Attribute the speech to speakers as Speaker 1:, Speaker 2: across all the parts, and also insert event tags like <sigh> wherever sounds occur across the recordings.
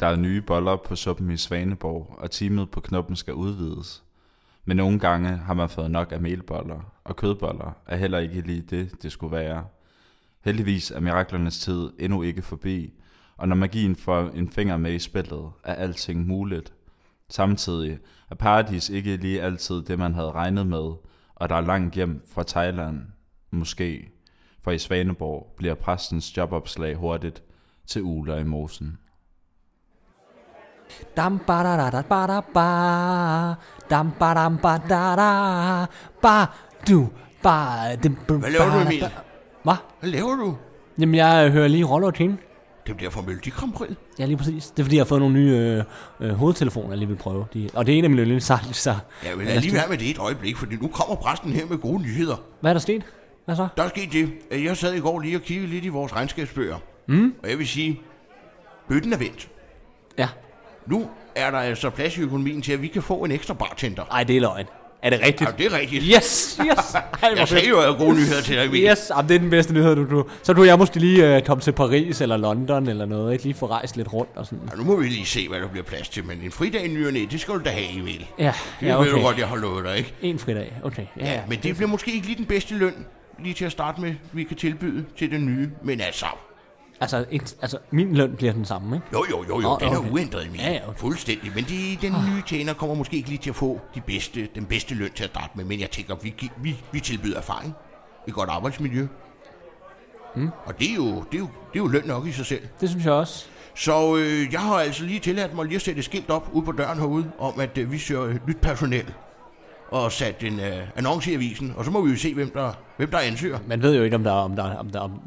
Speaker 1: Der er nye boller på suppen i Svaneborg, og teamet på knoppen skal udvides. Men nogle gange har man fået nok af melboller, og kødboller er heller ikke lige det, det skulle være. Heldigvis er miraklernes tid endnu ikke forbi, og når magien får en finger med i spillet, er alting muligt. Samtidig er paradis ikke lige altid det, man havde regnet med, og der er langt hjem fra Thailand. Måske. For i Svaneborg bliver præstens jobopslag hurtigt til uler i mosen.
Speaker 2: Dam ba da da da ba da ba. Dam ba dam ba da da. Ba du ba dem ba
Speaker 3: Hvad laver du,
Speaker 2: da,
Speaker 3: Emil?
Speaker 2: da. Hvad?
Speaker 3: Hvad laver du?
Speaker 2: Jamen, jeg øh, hører lige Rollo til hende.
Speaker 3: Det bliver for Melodi Grand Prix.
Speaker 2: Ja, lige præcis. Det er fordi, jeg har fået nogle nye øh, øh, hovedtelefoner, jeg lige vil prøve. De, og det er en af mine yndlingssalgelser.
Speaker 3: Ja, men lad lige være med det et øjeblik, for nu kommer præsten her med gode nyheder.
Speaker 2: Hvad er der sket? Hvad så?
Speaker 3: Der skete det, at jeg sad i går lige og kiggede lidt i vores regnskabsbøger. Mm. Og jeg vil sige, bøtten er vendt.
Speaker 2: Ja.
Speaker 3: Nu er der altså plads i økonomien til, at vi kan få en ekstra bartender.
Speaker 2: Ej, det er løgn. Er det rigtigt?
Speaker 3: Ja, det er rigtigt.
Speaker 2: Yes, yes. Ej, hvor
Speaker 3: Jeg sagde
Speaker 2: fedt.
Speaker 3: jo, at jeg havde gode nyheder til dig, Emil.
Speaker 2: Yes, jamen, det er den bedste nyhed, du, du. Så du jeg måske lige øh, komme til Paris eller London eller noget, ikke? Lige få rejst lidt rundt og sådan.
Speaker 3: Ja, nu må vi lige se, hvad der bliver plads til, men en fridag i ny og næ, det skal du da have, Emil.
Speaker 2: Ja,
Speaker 3: Det
Speaker 2: ja
Speaker 3: ved du
Speaker 2: okay.
Speaker 3: godt, jeg har lovet dig, ikke?
Speaker 2: En fridag, okay. Ja, ja.
Speaker 3: Ja, men det bliver måske ikke lige den bedste løn, lige til at starte med, vi kan tilbyde til den nye, men altså...
Speaker 2: Altså, en, altså, min løn bliver den samme, ikke?
Speaker 3: Jo, jo, jo, jo,
Speaker 2: Nå,
Speaker 3: den
Speaker 2: okay.
Speaker 3: er uændret, Emil.
Speaker 2: Ja, ja, okay. Ah.
Speaker 3: Fuldstændig, men de, den nye tjener kommer måske ikke lige til at få de bedste, den bedste løn til at starte med, men jeg tænker, vi, gi- vi, vi tilbyder erfaring, et godt arbejdsmiljø. Mm. Og det er, jo, det, er jo, det er jo løn nok i sig selv.
Speaker 2: Det synes jeg også.
Speaker 3: Så øh, jeg har altså lige tilladt mig lige at sætte et skilt op ude på døren herude, om at øh, vi søger øh, nyt personel. Og sat en øh, annonce i avisen, og så må vi jo se, hvem der, hvem der ansøger.
Speaker 2: Man ved jo ikke, om der, om der, om der, om,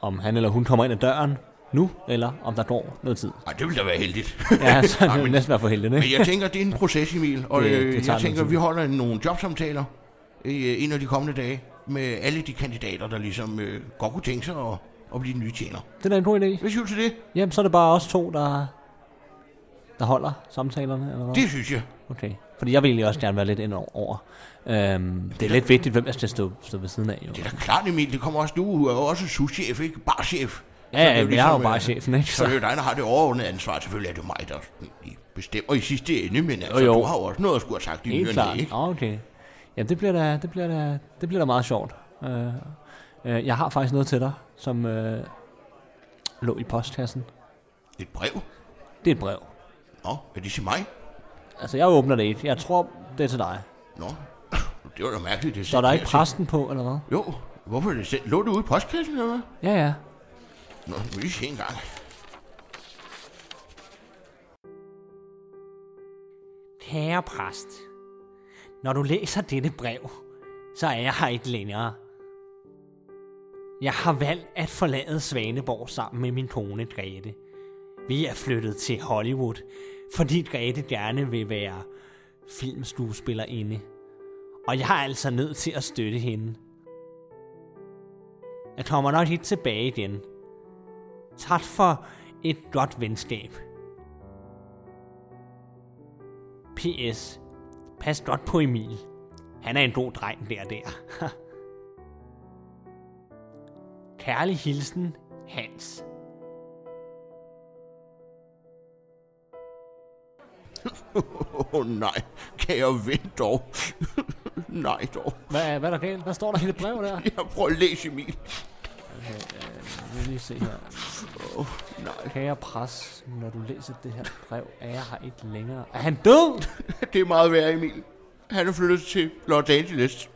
Speaker 2: om han eller hun kommer ind ad døren nu, eller om der går noget
Speaker 3: <laughs>
Speaker 2: tid.
Speaker 3: Ej, det ville da være heldigt.
Speaker 2: Ja, så
Speaker 3: Ej,
Speaker 2: det vil næsten være for heldigt,
Speaker 3: Men
Speaker 2: ikke?
Speaker 3: jeg tænker, det er en proces, Emil, og
Speaker 2: Det- det
Speaker 3: øh,
Speaker 2: tager
Speaker 3: jeg
Speaker 2: noget
Speaker 3: tænker,
Speaker 2: tid.
Speaker 3: vi holder nogle jobsamtaler øh, en af de kommende dage med alle de kandidater, der ligesom øh, godt kunne tænke sig at, at blive den nye tjener.
Speaker 2: Det er da en god idé.
Speaker 3: Hvad synes du til det?
Speaker 2: Jamen, så er det bare os to, der, der holder samtalerne, eller hvad?
Speaker 3: Det synes jeg.
Speaker 2: Okay. Fordi jeg vil egentlig også gerne være lidt ind over. Øhm, det er lidt vigtigt, hvem der skal stå, stå ved siden af, jo.
Speaker 3: Det er da klart, Emil, det kommer også. Du er jo også souschef, ikke? Barchef.
Speaker 2: Ja, ja,
Speaker 3: Så det er ligesom, øh,
Speaker 2: men jeg er jo bare chefen, ikke?
Speaker 3: Så er
Speaker 2: Så,
Speaker 3: det jo dig, der har det overordnede ansvar. Selvfølgelig er det jo mig, der sådan bestemmer i sidste ende, men altså,
Speaker 2: jo.
Speaker 3: du har jo også noget at skulle have sagt i
Speaker 2: helt
Speaker 3: nyerne,
Speaker 2: klart.
Speaker 3: ikke?
Speaker 2: Nå, okay. Jamen, det bliver da, det bliver da, det bliver da meget sjovt. Øh, øh, jeg har faktisk noget til dig, som øh, lå i postkassen.
Speaker 3: Et brev?
Speaker 2: Det er et brev.
Speaker 3: Nå, er det til mig?
Speaker 2: Altså, jeg åbner det ikke. Jeg tror, det er til dig.
Speaker 3: Nå, <clears throat> det var da mærkeligt. Det
Speaker 2: Så er der ikke
Speaker 3: sendt
Speaker 2: præsten på, eller hvad?
Speaker 3: her til- Jo, hvorfor er det sendt? Lå det ude i postkassen, eller hvad?
Speaker 2: Ja, ja.
Speaker 3: Nå, vi lige se en gang.
Speaker 2: Kære præst, når du læser dette brev, så er jeg her ikke længere. Jeg har valgt at forlade Svaneborg sammen med min kone Grete. Vi er flyttet til Hollywood, fordi Grete gerne vil være filmskuespillerinde. Og jeg er altså nødt til at støtte hende. Jeg kommer nok ikke tilbage igen. Tak for et godt venskab. P.S. Pas godt på Emil. Han er en god dreng der <laughs> der. Kærlig hilsen, Hans.
Speaker 3: Åh, oh, nej. Kan jeg vente dog? <laughs> nej dog.
Speaker 2: Hvad, er- hvad er der galt? Hvad står der i det <laughs> brev der? Øh,
Speaker 3: Jeg prøver at læse, Emil.
Speaker 2: Jeg vil lige se her.
Speaker 3: Nej,
Speaker 2: Kære pres, når du læser det her brev, er jeg her ikke længere. Er han død?
Speaker 3: det er meget værre, Emil. Han er flyttet til Los Angeles.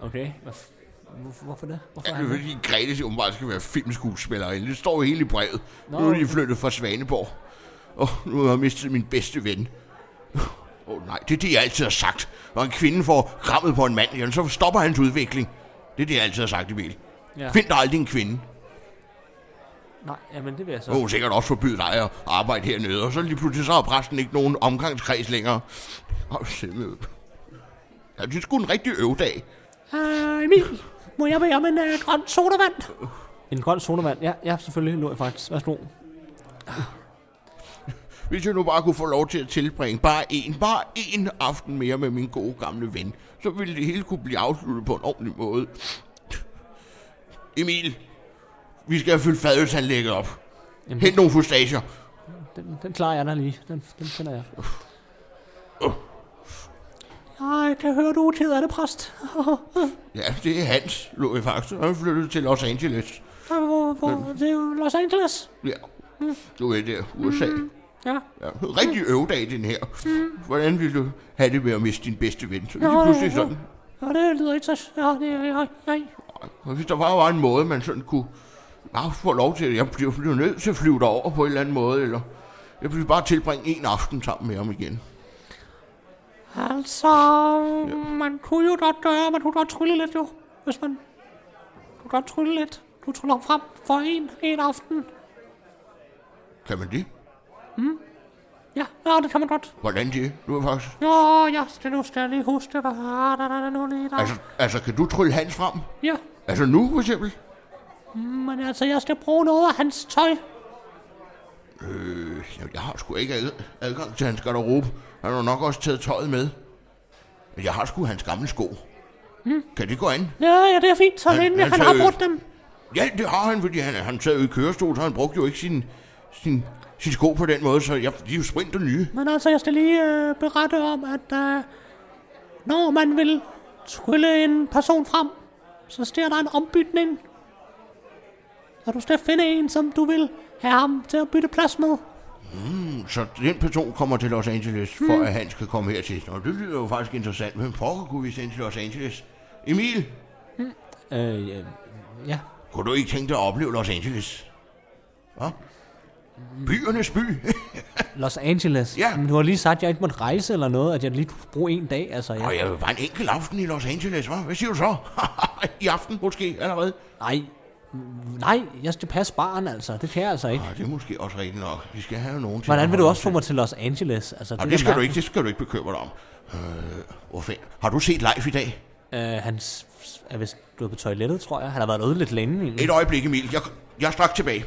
Speaker 2: Okay, hvad f- hvorfor, hvorfor det? Hvorfor
Speaker 3: Ja,
Speaker 2: er
Speaker 3: det er
Speaker 2: han død?
Speaker 3: fordi Grete siger, åbenbart skal være filmskuespillerinde. Det står jo hele i brevet.
Speaker 2: Nå,
Speaker 3: Nå, nu er de
Speaker 2: okay.
Speaker 3: flyttet fra Svaneborg. Og nu har jeg mistet min bedste ven. Åh oh, nej, det er det, jeg altid har sagt. Når en kvinde får krammet på en mand, jamen, så stopper hans udvikling. Det er det, jeg altid har sagt, Emil.
Speaker 2: Ja.
Speaker 3: Ja. Find dig aldrig en kvinde.
Speaker 2: Nej, jamen det vil jeg så.
Speaker 3: Så hun sikkert også forbyde dig at arbejde hernede. Og så lige pludselig, så har præsten ikke nogen omgangskreds længere. Åh, simpelthen. Ja, det er sgu en rigtig øvdag.
Speaker 2: Uh, Emil, må jeg bede om en uh, grøn sodavand? En grøn sodavand? Ja, ja selvfølgelig lå jeg faktisk. Værsgo.
Speaker 3: Hvis jeg nu bare kunne få lov til at tilbringe bare en, bare en aften mere med min gode gamle ven, så ville det hele kunne blive afsluttet på en ordentlig måde. Emil, vi skal have fyldt fadelsanlægget op.
Speaker 2: Jamen,
Speaker 3: Hent nogle fustager.
Speaker 2: den, den klarer jeg da lige. Den, den finder jeg. Nej, det hører du til, er det præst?
Speaker 3: Ja, det er Hans, lå jeg faktisk. Han flyttede til Los Angeles.
Speaker 2: Hvor, hvor, det er jo Los Angeles.
Speaker 3: Ja, du ved det, USA.
Speaker 2: Ja.
Speaker 3: Ja, rigtig øvedag, den her. Hvordan ville du have det med at miste din bedste ven? Så lige
Speaker 2: Nå,
Speaker 3: pludselig
Speaker 2: ja.
Speaker 3: sådan.
Speaker 2: ja, det lyder ikke så... Ja, det, ja, nej.
Speaker 3: Og hvis der bare var en måde, man sådan kunne bare få lov til, at jeg blev blev nødt til at flyve derover på en eller anden måde, eller jeg ville bare tilbringe en aften sammen med ham igen.
Speaker 2: Altså, man kunne jo godt gøre, man kunne godt trylle lidt jo, hvis man kunne godt trylle lidt. Du tryller frem for en, en aften.
Speaker 3: Kan man det?
Speaker 2: Ja, ja, det kan man godt.
Speaker 3: Hvordan det? Du er faktisk...
Speaker 2: Nå, ja, skal nu skal jeg lige huske, hvad Ah, der der, der, nu lige der.
Speaker 3: Altså, altså, kan du trylle Hans frem?
Speaker 2: Ja,
Speaker 3: Altså nu, for eksempel?
Speaker 2: men altså, jeg skal bruge noget af hans tøj.
Speaker 3: Øh, jeg- jeg har sgu ikke ad- adgang til hans garderobe. Han har nok også taget tøjet med. Men jeg har sgu hans gamle sko.
Speaker 2: Hm.
Speaker 3: Kan det gå an?
Speaker 2: Ja, ja, det er fint, så
Speaker 3: Han-
Speaker 2: længe
Speaker 3: han
Speaker 2: han
Speaker 3: tager
Speaker 2: har
Speaker 3: øl.
Speaker 2: brugt dem.
Speaker 3: Ja, det har han, fordi han, han sad jo i kørestol, så han brugte jo ikke sin, sin, sin sko på den måde, så jeg, de er jo sprinter nye.
Speaker 2: Men altså, jeg skal lige øh, berette om, at øh, når man vil trylle en person frem, så sker der en ombytning. Og du skal finde en, som du vil have ham til at bytte plads med.
Speaker 3: Så den person kommer til Los Angeles, for at han skal komme hertil. Nå, det lyder jo faktisk interessant. Hvem pokker kunne vi sende til Los Angeles? Emil,
Speaker 2: Øh, ja. ja.
Speaker 3: kunne du ikke tænke dig at opleve Los Angeles? Hva? Byernes
Speaker 2: <laughs>
Speaker 3: by.
Speaker 2: Los Angeles.
Speaker 3: Ja.
Speaker 2: Men du har lige sagt, at jeg ikke måtte rejse eller noget, at jeg lige kunne bruge en dag. Altså,
Speaker 3: Og jeg vil bare en enkelt aften i Los Angeles, hva? Hvad siger du så? <laughs> I aften måske allerede?
Speaker 2: Nej, nej, jeg skal passe barn, altså. Det kan jeg altså ikke.
Speaker 3: Nej, det er måske også rigtigt nok. Vi skal have nogen til
Speaker 2: Hvordan
Speaker 3: at
Speaker 2: vil du
Speaker 3: holde
Speaker 2: også få mig til Los Angeles? Altså,
Speaker 3: Og
Speaker 2: er
Speaker 3: det skal, du
Speaker 2: mærkeligt.
Speaker 3: ikke, det skal du ikke bekymre dig om. Øh, hvorfor? Har du set live i dag?
Speaker 2: Øh, han s- s- er vist gået på toilettet, tror jeg. Han har været ude lidt længe. egentlig. <laughs>
Speaker 3: Et
Speaker 4: Mm.
Speaker 3: øjeblik, Emil. Jeg, jeg er straks tilbage.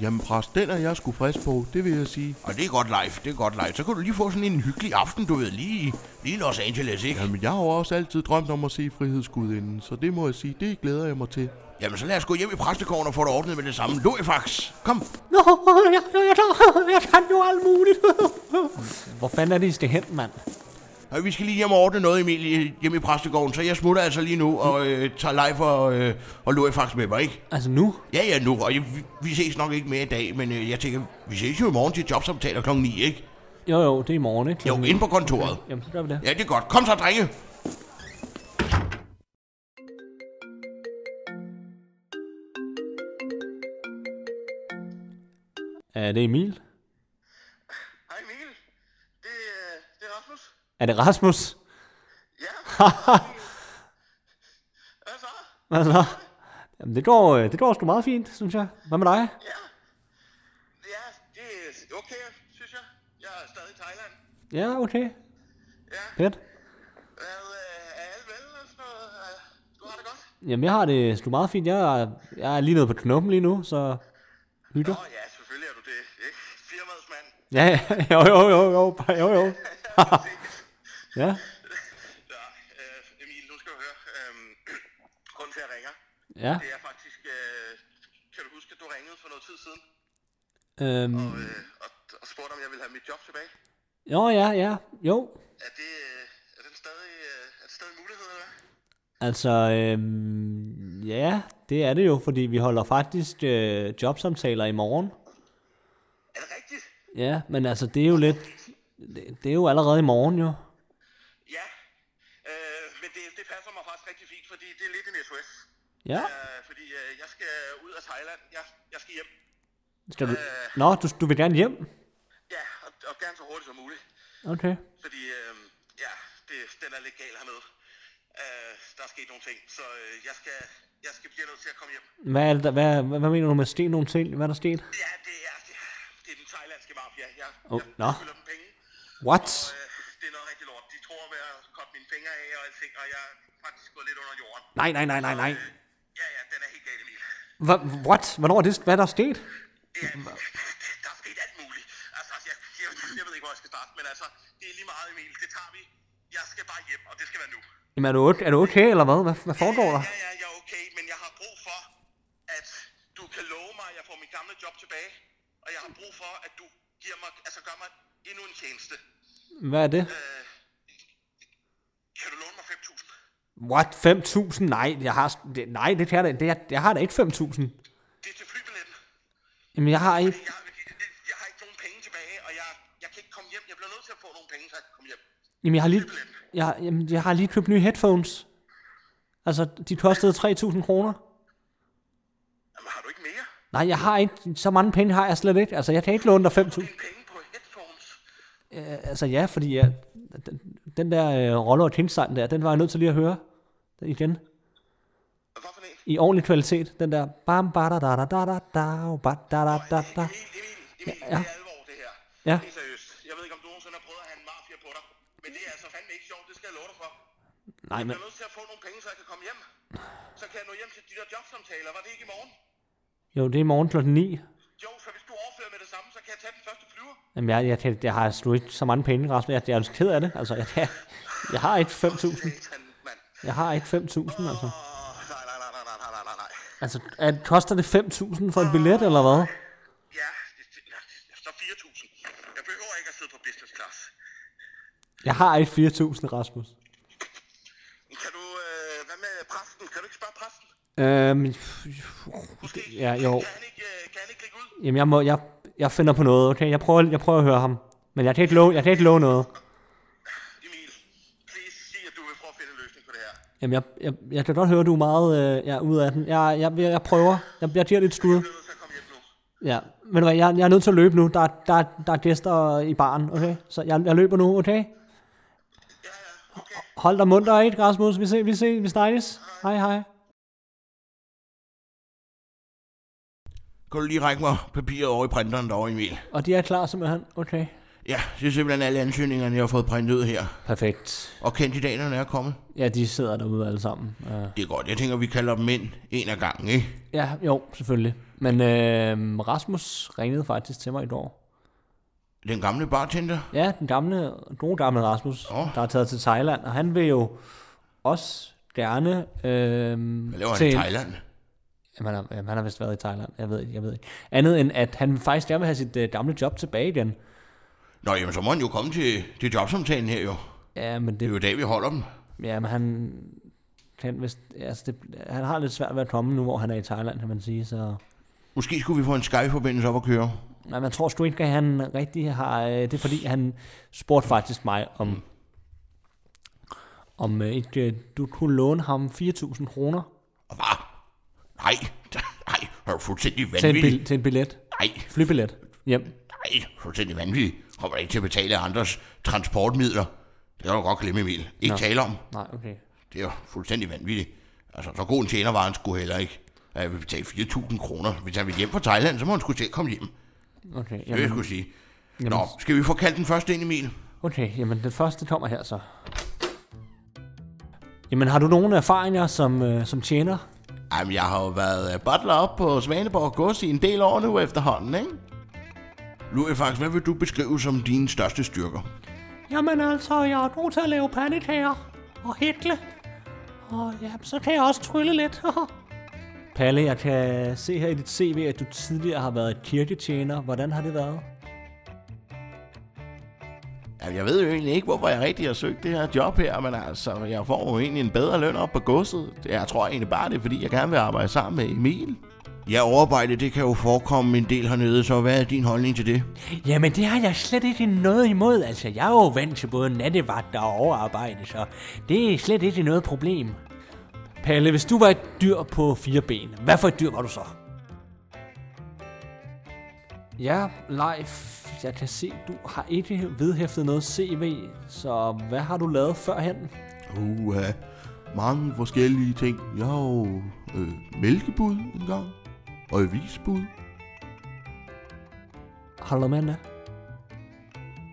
Speaker 4: Jamen præst, den er jeg sgu frisk på, det vil jeg sige.
Speaker 3: Og det er godt live, det er godt live. Så kan du lige få sådan en hyggelig aften, du ved, lige, lige i Los Angeles, ikke?
Speaker 4: Jamen jeg har jo også altid drømt om at se frihedsgudinden, så det må jeg sige, det glæder jeg mig til.
Speaker 3: Jamen, så lad os gå hjem i præstegården og få det ordnet med det samme. Loifax, kom.
Speaker 2: Nå, jeg, jeg, jeg, jeg kan jo alt muligt. Hvor fanden er det, I skal hen, mand?
Speaker 3: Og Øh, vi skal lige hjem og ordne noget, Emil, i- hjemme i præstegården. Så jeg smutter altså lige nu
Speaker 4: Mm.
Speaker 3: og øh, tager live og, øh, og Loifax med mig, ikke?
Speaker 2: Altså nu?
Speaker 3: Ja, ja, nu. Og jeg, vi, vi ses nok ikke mere i dag, men øh, jeg tænker, vi ses jo i morgen til jobsamtaler kl. 9, ikke?
Speaker 2: Jo, jo, det er i morgen, ikke?
Speaker 3: Jo,
Speaker 2: Klokken-
Speaker 3: inde på kontoret.
Speaker 2: Jamen, så gør vi det.
Speaker 3: Ja, det er godt. Kom så, drenge.
Speaker 2: Er det Emil?
Speaker 5: Hej Emil, det, er, det er Rasmus.
Speaker 2: Er det Rasmus?
Speaker 5: Ja,
Speaker 2: <laughs>
Speaker 5: hvad så?
Speaker 2: Hvad så? Jamen, det går, øh, det går sgu meget fint, synes jeg. Hvad med dig?
Speaker 5: Ja. ja, det er okay, synes jeg. Jeg er stadig i Thailand.
Speaker 2: Ja, okay.
Speaker 5: Ja.
Speaker 2: Fedt.
Speaker 5: Hvad, øh, er alle vel og sådan noget? Øh, Du har det godt?
Speaker 2: Jamen, jeg har det sgu meget fint. Jeg er, jeg er lige nede på knoppen lige nu, så hygger.
Speaker 5: Nå ja, selvfølgelig er du det, ikke? Firmaets mand.
Speaker 2: Ja, ja, <laughs> jo, jo, jo, jo, bare jo,
Speaker 5: <laughs>
Speaker 2: <laughs> jo. ja,
Speaker 5: Ja, øh, Emil, nu skal du høre. Øhm, <clears throat> grunden til, at jeg ringer,
Speaker 2: ja.
Speaker 5: det er faktisk... Øh, kan du huske, at du ringede for noget tid siden?
Speaker 2: Øhm,
Speaker 5: Øh, og, og spurgte, om jeg ville have mit job tilbage?
Speaker 2: jo, ja, ja, jo.
Speaker 5: Er det, øh, er den stadig, øh, er det stadig en mulighed, eller hvad?
Speaker 2: Altså, øhm, ja, det er det jo, fordi vi holder faktisk øh, jobsamtaler i morgen.
Speaker 5: Er det rigtigt?
Speaker 2: Ja, men altså, det er jo lidt... Det, det er jo allerede i morgen, jo.
Speaker 5: Ja. Øh, men det, det passer mig faktisk rigtig fint, fordi det er lidt en SOS.
Speaker 2: Ja,
Speaker 5: Øh, fordi øh, jeg skal ud af Thailand. Jeg, jeg skal hjem.
Speaker 2: skal du... Nå, du, du vil gerne hjem?
Speaker 5: Ja, og, og gerne så hurtigt som muligt.
Speaker 2: Okay.
Speaker 5: Fordi øh, ja, det, den er lidt gal hernede. Øh, der er sket nogle ting, så øh, jeg skal, jeg skal blive nødt til at komme hjem.
Speaker 2: Hvad, er det, der, hvad, hvad, hvad mener du med sten nogle ting? Hvad er der sket?
Speaker 5: Ja, det er, det, det er den thailandske mafia. Jeg,
Speaker 2: Åh,
Speaker 5: jeg,
Speaker 2: nå.
Speaker 5: jeg skylder dem penge.
Speaker 2: What?
Speaker 5: Øh, det er noget rigtig lort. De tror med at koppe mine fingre af og alting, og jeg er faktisk gået lidt under jorden. Øh,
Speaker 2: Nej, nej, nej, nej, nej.
Speaker 5: Ja, ja, den er helt gal, Emil.
Speaker 2: Hva, what? Hvornår er det? Hvad er der sket?
Speaker 5: Ja, der er sket alt muligt. Altså, jeg, jeg, jeg ved ikke, hvor jeg skal starte, men altså, det er lige meget, Emil. Det tager vi. Jeg skal bare hjem, og det skal være nu.
Speaker 2: Jamen, er du, okay- er du okay, eller hvad? Hvad, hvad foregår der?
Speaker 5: Ja, ja, jeg er okay, men jeg har brug for, at Du kan love mig, at jeg får min gamle job tilbage, og jeg har brug for, at du giver mig, altså gør mig endnu en tjeneste.
Speaker 2: Hvad er det?
Speaker 5: Kan du låne mig 5.000?
Speaker 2: What? 5.000? Nej, jeg har... s- Det, nej, det kan jeg da... Det, jeg, jeg har da ikke 5.000.
Speaker 5: Det er til flybilletten.
Speaker 2: Jamen, jeg har ikke...
Speaker 5: Jeg, jeg har ikke nogen penge tilbage, og jeg, jeg kan ikke komme hjem. Jeg bliver nødt til at få nogle penge, så jeg kan komme hjem.
Speaker 2: Jamen, jeg har lige... Jeg, jamen, jeg har lige købt nye headphones. Altså, de kostede 3.000 kroner.
Speaker 5: Jamen, har du ikke mere?
Speaker 2: Nej, jeg har ikke... Så mange penge har jeg slet ikke. Altså, jeg kan ikke låne dig 5.000.
Speaker 5: Dine penge på headphones.
Speaker 2: Altså, ja, fordi jeg, den, den der øh, Roller og Kingsang der, den var jeg nødt til lige at høre igen.
Speaker 5: Hvad for en?
Speaker 2: I ordentlig kvalitet. Den der... Bam, ba, da, da, da, da, da, da, ba, da, da, da, da.
Speaker 5: Emil, Emil, Emil,
Speaker 2: Ja.
Speaker 5: ja. det er alvor, det her.
Speaker 2: Ja.
Speaker 5: Det er seriøst. Jeg ved ikke, om du nogensinde har prøvet at have en mafia på dig. Men det er altså fandme ikke sjovt, det skal jeg love dig for.
Speaker 2: Nej,
Speaker 5: Jeg
Speaker 2: men...
Speaker 5: er nødt til at få nogle penge, så jeg kan komme hjem. Så kan jeg nå hjem til de der jobsamtaler. Var det ikke i morgen?
Speaker 2: Jo, det er i morgen klokken 9.
Speaker 5: Jo, så hvis du overfører med det samme, så kan jeg tage den første flyver.
Speaker 2: Jamen, jeg, jeg, kan, jeg har sgu ikke så mange penge, Rasmus. Jeg, jeg er lidt ked af det. Altså, jeg, jeg, jeg har ikke 5.000.
Speaker 5: Satan, mand.
Speaker 2: Jeg har ikke 5.000, altså.
Speaker 5: Åh, nej, nej, nej, nej, nej, nej, nej, nej.
Speaker 2: Altså, er, koster det 5.000 for en billet, eller hvad?
Speaker 5: Ja, det- det- nej, det- så 4.000. Jeg behøver ikke at sidde på business class.
Speaker 2: Jeg har ikke 4.000, Rasmus.
Speaker 5: Kan du, øh, hvad med præsten? Kan du ikke spørge præsten?
Speaker 2: Øhm,
Speaker 5: Måske.
Speaker 2: ja, jo.
Speaker 5: Kan han ikke, øh, kan han ikke ligge ud?
Speaker 2: jamen, jeg, må, jeg, jeg finder på noget, okay? Jeg prøver, jeg prøver at høre ham. Men jeg kan ikke love, jeg kan ikke love noget.
Speaker 5: Emil, please sig, at du vil prøve at finde en løsning på det her.
Speaker 2: Jamen, jeg, jeg, jeg kan godt høre, du er meget øh, jeg er ude af den. Jeg, jeg, jeg, jeg prøver. Jeg, jeg giver lidt skud.
Speaker 5: Jeg bliver nødt til at komme hjem nu.
Speaker 2: Ja, men du hvad, jeg, jeg er nødt til at løbe nu. Der, er- der, er- der er gæster i baren, okay? Så jeg, jeg løber nu, okay? Hold dig munter, ikke, Rasmus? Vi, se, vi, se, vi snakkes. Hej, hej.
Speaker 3: Kan du lige række mig papiret over i printeren derovre, Emil?
Speaker 2: Og de er klar simpelthen. Okay.
Speaker 3: Ja, det er simpelthen alle ansøgningerne, jeg har fået printet ud her.
Speaker 2: Perfekt.
Speaker 3: Og kandidaterne er kommet.
Speaker 2: Ja, de sidder derude alle sammen. Uh,
Speaker 3: Det er godt. Jeg tænker, vi kalder dem ind en af gangen, ikke?
Speaker 2: ja, jo, selvfølgelig. Men øh, Rasmus ringede faktisk til mig i går.
Speaker 3: Den gamle bartender.
Speaker 2: Ja, den gamle, gode gamle Rasmus,
Speaker 3: Åh.
Speaker 2: der er taget til Thailand. Og han vil jo også gerne... Øh,
Speaker 3: Hvad laver han
Speaker 2: til,
Speaker 3: i Thailand?
Speaker 2: Jamen, han, har, jamen, han har vist været i Thailand. Jeg ved, ikke, jeg ved ikke. Andet end, at han faktisk gerne vil have sit øh, gamle job tilbage igen.
Speaker 3: Nå, jamen, så må han jo komme til, til jobsamtalen her jo.
Speaker 2: Ja, men
Speaker 3: Det er
Speaker 2: det,
Speaker 3: jo i dag, vi holder dem.
Speaker 2: jamen, han, kan vist, altså det, han har lidt svært ved at komme nu, hvor han er i Thailand, kan man sige. Så.
Speaker 3: Måske skulle vi få en Skype-forbindelse op at køre.
Speaker 2: Nej, man tror sgu ikke, at han rigtig har... Øh, det er fordi, han spurgte faktisk mig om, om øh, ikke, øh, du kunne låne ham 4.000 kroner
Speaker 3: Og hvad? Nej, <laughs> nej, er du fuldstændig
Speaker 2: til en,
Speaker 3: vanvittig?
Speaker 2: bil, til en billet.
Speaker 3: Nej,
Speaker 2: Flybillet. Hjem.
Speaker 3: nej, fuldstændig vanvittig. Kommer ikke til at betale andres transportmidler. Det kan du godt glemme, Emil. Ikke
Speaker 2: Nå.
Speaker 3: tale om.
Speaker 2: Nej, okay.
Speaker 3: Det er jo fuldstændig vanvittigt. Altså, så god en tjener var han sgu heller ikke. At Jeg vil betale 4.000 kroner. Hvis han vil hjem fra Thailand, så må han sgu til at komme hjem. Det
Speaker 2: Okay,
Speaker 3: vil jeg
Speaker 2: jamen,
Speaker 3: skulle sige. Nå, skal vi få kaldt den første ind, Emil?
Speaker 2: okay, jamen den første kommer her så. Jamen har du nogle erfaringer som, øh, som tjener?
Speaker 3: Jamen, jeg har jo været øh, butler op på Svaneborg Gods i en del år nu efterhånden, ikke? Louis Fax, hvad vil du beskrive som dine største styrker?
Speaker 2: Jamen altså, jeg er god til at lave pandekager og hækle. Og ja, så kan jeg også trylle lidt. <laughs> Palle, jeg kan se her i dit CV, at du tidligere har været kirketjener. Hvordan har det været?
Speaker 3: Jamen, jeg ved jo egentlig ikke, hvorfor jeg rigtig har søgt det her job her, men altså, jeg får jo egentlig en bedre løn op på godset. Jeg tror egentlig bare, det er, fordi jeg gerne vil arbejde sammen med Emil. Ja, overarbejde, det kan jo forekomme en del hernede, så hvad er din holdning til det?
Speaker 2: Jamen, det har jeg slet ikke noget imod. Altså, jeg er jo vant til både nattevagter og overarbejde, så det er slet ikke noget problem. Palle, hvis du var et dyr på fire ben, hvad for et dyr var du så? Ja, Leif, jeg kan se, du har ikke vedhæftet noget CV, så hvad har du lavet førhen?
Speaker 4: Uha, mange forskellige ting. Jeg har jo øh, mælkebud engang, og avisbud.
Speaker 2: Har du noget med end det?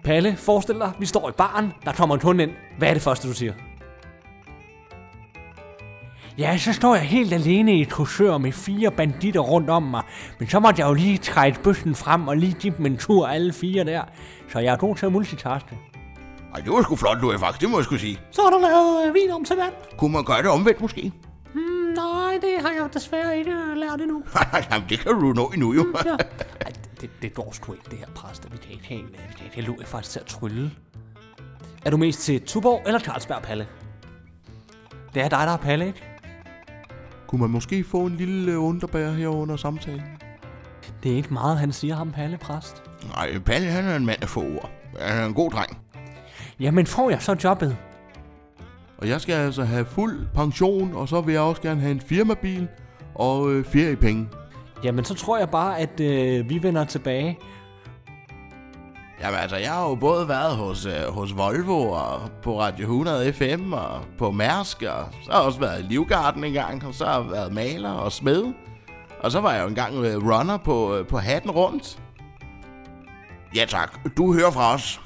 Speaker 2: Palle, forestil dig, vi står i baren, der kommer en hund ind. Hvad er det første, du siger? Ja, så står jeg helt alene i et kursør med fire banditter rundt om mig. Men så måtte jeg jo lige trække bøssen frem og lige give dem en tur alle fire der. Så jeg er god til at multitaske.
Speaker 3: Ej, det var sgu flot, Louis Fax, det må jeg sgu sige.
Speaker 2: Så har du lavet øh, vin om til vand.
Speaker 3: Kunne man gøre det omvendt måske? <laughs>
Speaker 2: Nej, det har jeg desværre ikke øh, lært endnu.
Speaker 3: Jamen, det kan du nå endnu jo.
Speaker 2: Ja. Ej, det, det går sgu ikke, det her præster. Vi kan ikke have en. Vi kan ikke have lå jeg faktisk til at trylle. Er du mest til Tuborg eller Carlsberg, Palle? Det er dig, der er Palle, ikke?
Speaker 4: Kunne man måske få en lille øh, underbær her under samtalen?
Speaker 2: Det er ikke meget, han siger ham, Palle, præst.
Speaker 3: Nej, Palle han er en mand af få ord. Han er en god dreng.
Speaker 2: Jamen, får jeg så jobbet?
Speaker 4: Og jeg skal altså have fuld pension, og så vil jeg også gerne have en firmabil og øh, feriepenge.
Speaker 2: Jamen, så tror jeg bare, at øh, vi vender tilbage.
Speaker 3: Jamen altså, jeg har jo både været hos, øh, hos Volvo og på Radio 100 FM og på Mærsk, og så har jeg også været i Livgarden en gang, og så har jeg været maler og smed. Og så var jeg jo engang øh, runner på, øh, på hatten rundt. Ja tak, du hører fra os.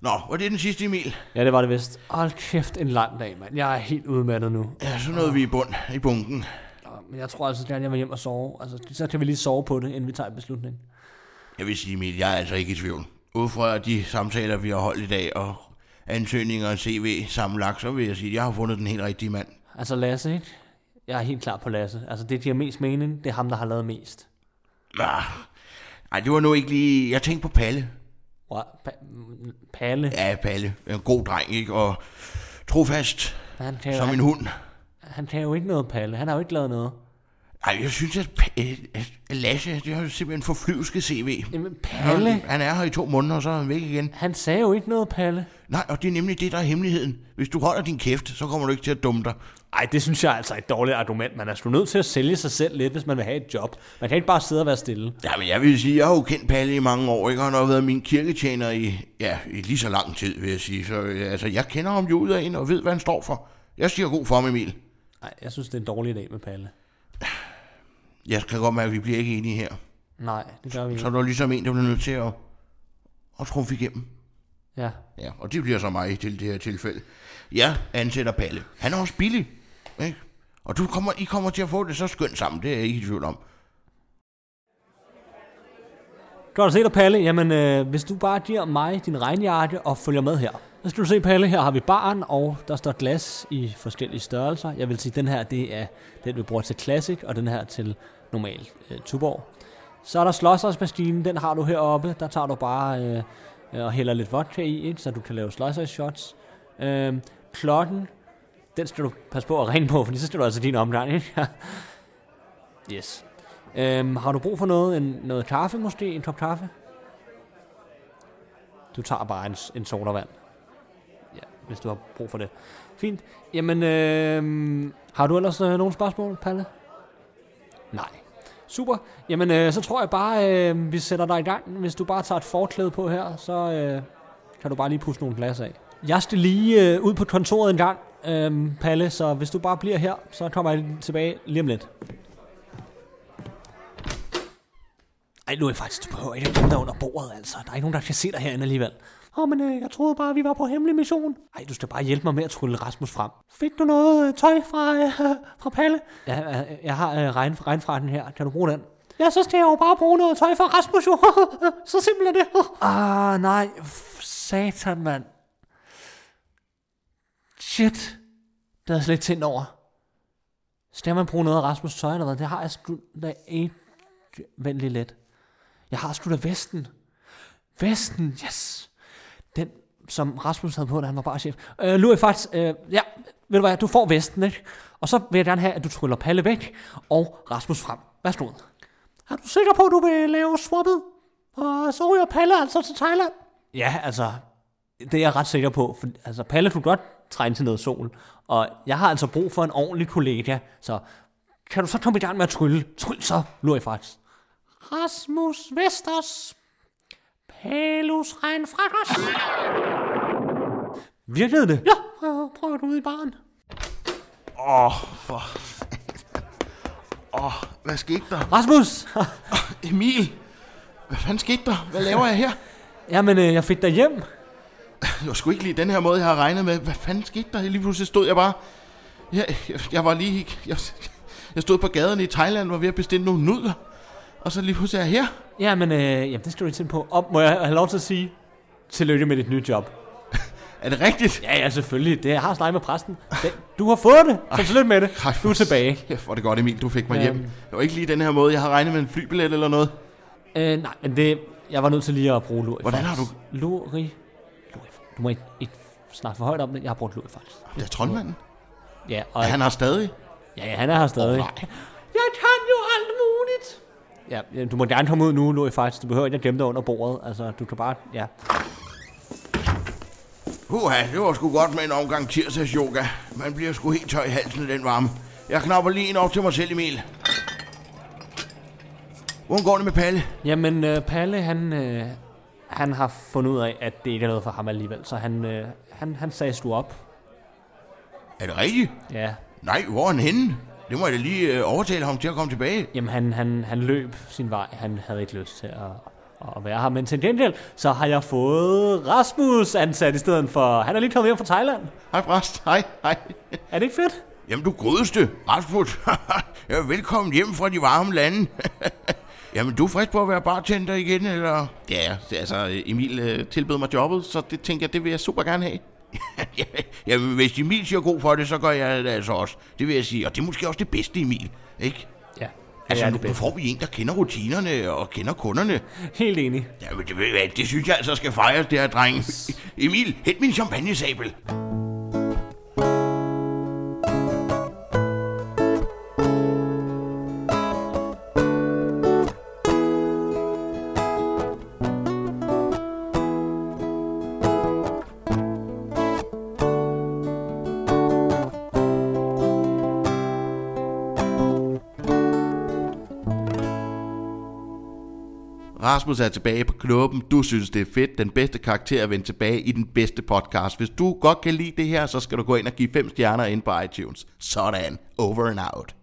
Speaker 3: Nå, var det den sidste, Emil?
Speaker 2: Ja, det var det vist. Hold kæft, en lang dag, mand. Jeg er helt udmattet nu.
Speaker 3: Ja, så nåede vi i bund, i bunken.
Speaker 2: Nå, Men jeg tror altså gerne, jeg vil hjem og sove. Altså, så kan vi lige sove på det, inden vi tager en beslutning.
Speaker 3: Jeg vil sige, Emil, jeg er altså ikke i tvivl. Ud fra de samtaler, vi har holdt i dag, og ansøgninger og CV sammenlagt, så vil jeg sige, at jeg har fundet den helt rigtige mand.
Speaker 2: Altså Lasse, ikke? Jeg er helt klar på Lasse. Altså det, der giver mest mening, det er ham, der har lavet mest.
Speaker 3: Ah, Ej, det var nu ikke lige... Jeg tænkte på Palle.
Speaker 2: Wow, pa- m- Palle, ja.
Speaker 3: Ja, Palle. En god dreng, ikke? Og trofast
Speaker 2: han, kan jo,
Speaker 3: som en
Speaker 2: han,
Speaker 3: hund.
Speaker 2: han kan jo ikke noget, Palle. Han har jo ikke lavet noget.
Speaker 3: Ej, jeg synes, at, Pa- øh, at Lasse, det har jo simpelthen forflyvske CV.
Speaker 2: Jamen, Palle,
Speaker 3: Han er her i to måneder, og så er han væk igen.
Speaker 2: han sagde jo ikke noget, Palle.
Speaker 3: Nej, og det er nemlig det, der er hemmeligheden. Hvis du holder din kæft, så kommer du ikke til at dumme dig.
Speaker 2: Ej, det synes jeg er altså er et dårligt argument. Man er sgu nødt til at sælge sig selv lidt, hvis man vil have et job. Man kan ikke bare sidde og være stille.
Speaker 3: Ja, men jeg vil sige, jeg har jo kendt Palle i mange år, ikke? Og han har været min kirketjener i, ja, i lige så lang tid, vil jeg sige. Så øh, altså, jeg kender ham jo ud af en og ved, hvad han står for. Jeg siger god for ham, Emil.
Speaker 2: Nej, jeg synes, det er en dårlig dag med Palle.
Speaker 3: Jeg kan godt mærke, at vi bliver ikke enige her.
Speaker 2: Nej, det gør vi
Speaker 3: Så er
Speaker 2: ikke.
Speaker 3: der ligesom en, der bliver nødt til at, at trumfe igennem.
Speaker 2: Ja.
Speaker 3: Ja, og det bliver så mig til det her tilfælde. Jeg ansætter Palle. Han er også billig, ikke? Og du kommer, I kommer til at få det så skønt sammen, det er jeg ikke i tvivl om.
Speaker 2: Godt at se dig, Palle. Jamen, øh, hvis du bare giver mig din regnjakke og følger med her. Så skal du se, Palle, her har vi baren, og der står glas i forskellige størrelser. Jeg vil sige, den her, det er den, vi bruger til Classic, og den her til normal øh, Tuborg. Så er der sløjsersmaskinen, den har du heroppe. Der tager du bare øh, øh, og hælder lidt vodka i, ikke? så du kan lave sløjsershots. Øh, klokken, den skal du passe på at ringe på, for så skal du altså din omgang, ikke? <laughs> yes. Øhm, har du brug for noget? En, noget kaffe måske? En kop kaffe? Du tager bare en, s- en sodavand. Ja, hvis du har brug for det. Fint. Jamen, øhm, har du ellers øh, nogle spørgsmål, Palle? Nej. Super. Jamen, øh, så tror jeg bare, øh, vi sætter dig i gang. Hvis du bare tager et forklæde på her, så øh, kan du bare lige puste nogle glas af. Jeg skal lige øh, ud på kontoret en gang, øh, Palle, så hvis du bare bliver her, så kommer jeg tilbage lige om lidt. Ej, nu er jeg faktisk på højde dem der under bordet, altså. Der er ikke nogen, der kan se dig herinde alligevel. Åh, oh, men øh, jeg troede bare, vi var på hemmelig mission. Ej, du skal bare hjælpe mig med at trylle Rasmus frem. Fik du noget øh, tøj fra, øh, fra Palle? Ja, øh, jeg har øh, regn, regnfrakken her. Kan du bruge den? Ja, så skal jeg jo bare bruge noget tøj fra Rasmus, jo. <laughs> så simpelt er det. ah, nej. F- Satan, mand. Shit. Det havde jeg slet ikke tændt over. Skal man bruge noget af Rasmus' tøj eller hvad? Det har jeg sgu da ikke. Vent lige lidt. Jeg har sgu da vesten. Vesten, yes. Den, som Rasmus havde på, da han var bare chef. Øh, Louis, faktisk, øh, ja, ved du hvad, du får vesten, ikke? Og så vil jeg gerne have, at du tryller Palle væk og Rasmus frem. Værsgo. Er du sikker på, at du vil lave swappet? Og så ryger Palle altså til Thailand. Ja, altså, det er jeg ret sikker på. For, altså, Palle kunne godt trænge til noget sol. Og jeg har altså brug for en ordentlig kollega, så kan du så komme i gang med at trylle? Tryl så, Louis, faktisk. Rasmus Vesters Palus Rein Frakkers. Virkede det? Ja, øh, prøv du ud i baren.
Speaker 3: Hvad skete der?
Speaker 2: Rasmus! <laughs>
Speaker 3: Emil! Hvad fanden skete der? Hvad laver jeg her?
Speaker 2: Jamen, øh, jeg fik dig hjem.
Speaker 3: Det var sgu ikke lige den her måde, jeg har regnet med. Hvad fanden skete der? Lige pludselig stod jeg bare... Jeg, jeg, jeg var lige... Jeg, jeg stod på gaden i Thailand, var ved at bestille nogle nudler. Og så lige pludselig er jeg her.
Speaker 2: Jamen, øh, jamen det skal du ikke tænke på. Og må jeg have lov til at sige, tillykke med dit nye job.
Speaker 3: Er det rigtigt?
Speaker 2: Ja, ja, selvfølgelig. Det, jeg har snakket med præsten. Det, du har fået det. Så tillykke med det. Du er tilbage.
Speaker 3: Kæft, hvor er det godt, Emil, du fik mig hjem.
Speaker 2: Øhm.
Speaker 3: Det var ikke lige den her måde, jeg havde regnet med en flybillet eller noget.
Speaker 2: Øh, nej, men det... Jeg var nødt til lige at bruge lur i
Speaker 3: Hvordan
Speaker 2: fals.
Speaker 3: har du-
Speaker 2: Luri... Luri... Du må ikke, ikke snakke for højt om det. Jeg har brugt lur i fals.
Speaker 3: Det er troldmanden.
Speaker 2: Ja, og...
Speaker 3: Han har stadig.
Speaker 2: Ja, ja, han er her stadig.
Speaker 3: nej.
Speaker 2: Jeg kan jo alt muligt. Ja, Ja, du må gerne komme ud nu, Louis, faktisk. Du behøver ikke at gemme dig under bordet. Altså, du kan bare... Ja.
Speaker 3: Uha, det var sgu godt med en omgang tirsdags yoga. Man bliver sgu helt tør i halsen af den varme. Jeg knapper lige en op til mig selv, Emil. Hvordan går det med Palle?
Speaker 2: Jamen, øh, Palle, han, øh, han har fundet ud af, at det ikke er noget for ham alligevel. Så han, øh, han, han sagde du op.
Speaker 3: Er det rigtigt?
Speaker 2: Ja.
Speaker 3: Nej, hvor er han henne? Det må jeg da lige øh, overtale ham til at komme tilbage.
Speaker 2: Jamen, han, han, han løb sin vej. Han havde ikke lyst til at, at være her. Men til gengæld, så har jeg fået Rasmus ansat i stedet for... Han er lige kommet hjem fra Thailand.
Speaker 3: Hej, præst. Hej, hej.
Speaker 2: Er det ikke fedt?
Speaker 3: Jamen, du godeste, Rasmus. <laughs> ja, velkommen hjem fra de varme lande. <laughs> Jamen, du er frisk på at være bartender igen, eller? Ja, det- altså, Emil øh, tilbød mig jobbet, så det tænker jeg, det vil jeg super gerne have. <laughs> Ja, Jamen, hvis Emil siger god for det, så gør jeg det altså også. Det vil jeg sige, og det er måske også det bedste, Emil, ikke?
Speaker 2: Ja.
Speaker 3: Altså,
Speaker 2: er
Speaker 3: nu,
Speaker 2: det
Speaker 3: nu
Speaker 2: bedste.
Speaker 3: får vi en, der kender rutinerne og kender kunderne.
Speaker 2: Helt enig.
Speaker 3: Jamen, det, ved jeg hvad, det synes jeg altså skal fejres, det her, dreng. <laughs> Emil, hent min champagnesabel. Rasmus er tilbage på klubben. Du synes, det er fedt. Den bedste karakter at vende tilbage i den bedste podcast. Hvis du godt kan lide det her, så skal du gå ind og give 5 stjerner ind på iTunes. Sådan. Over and out.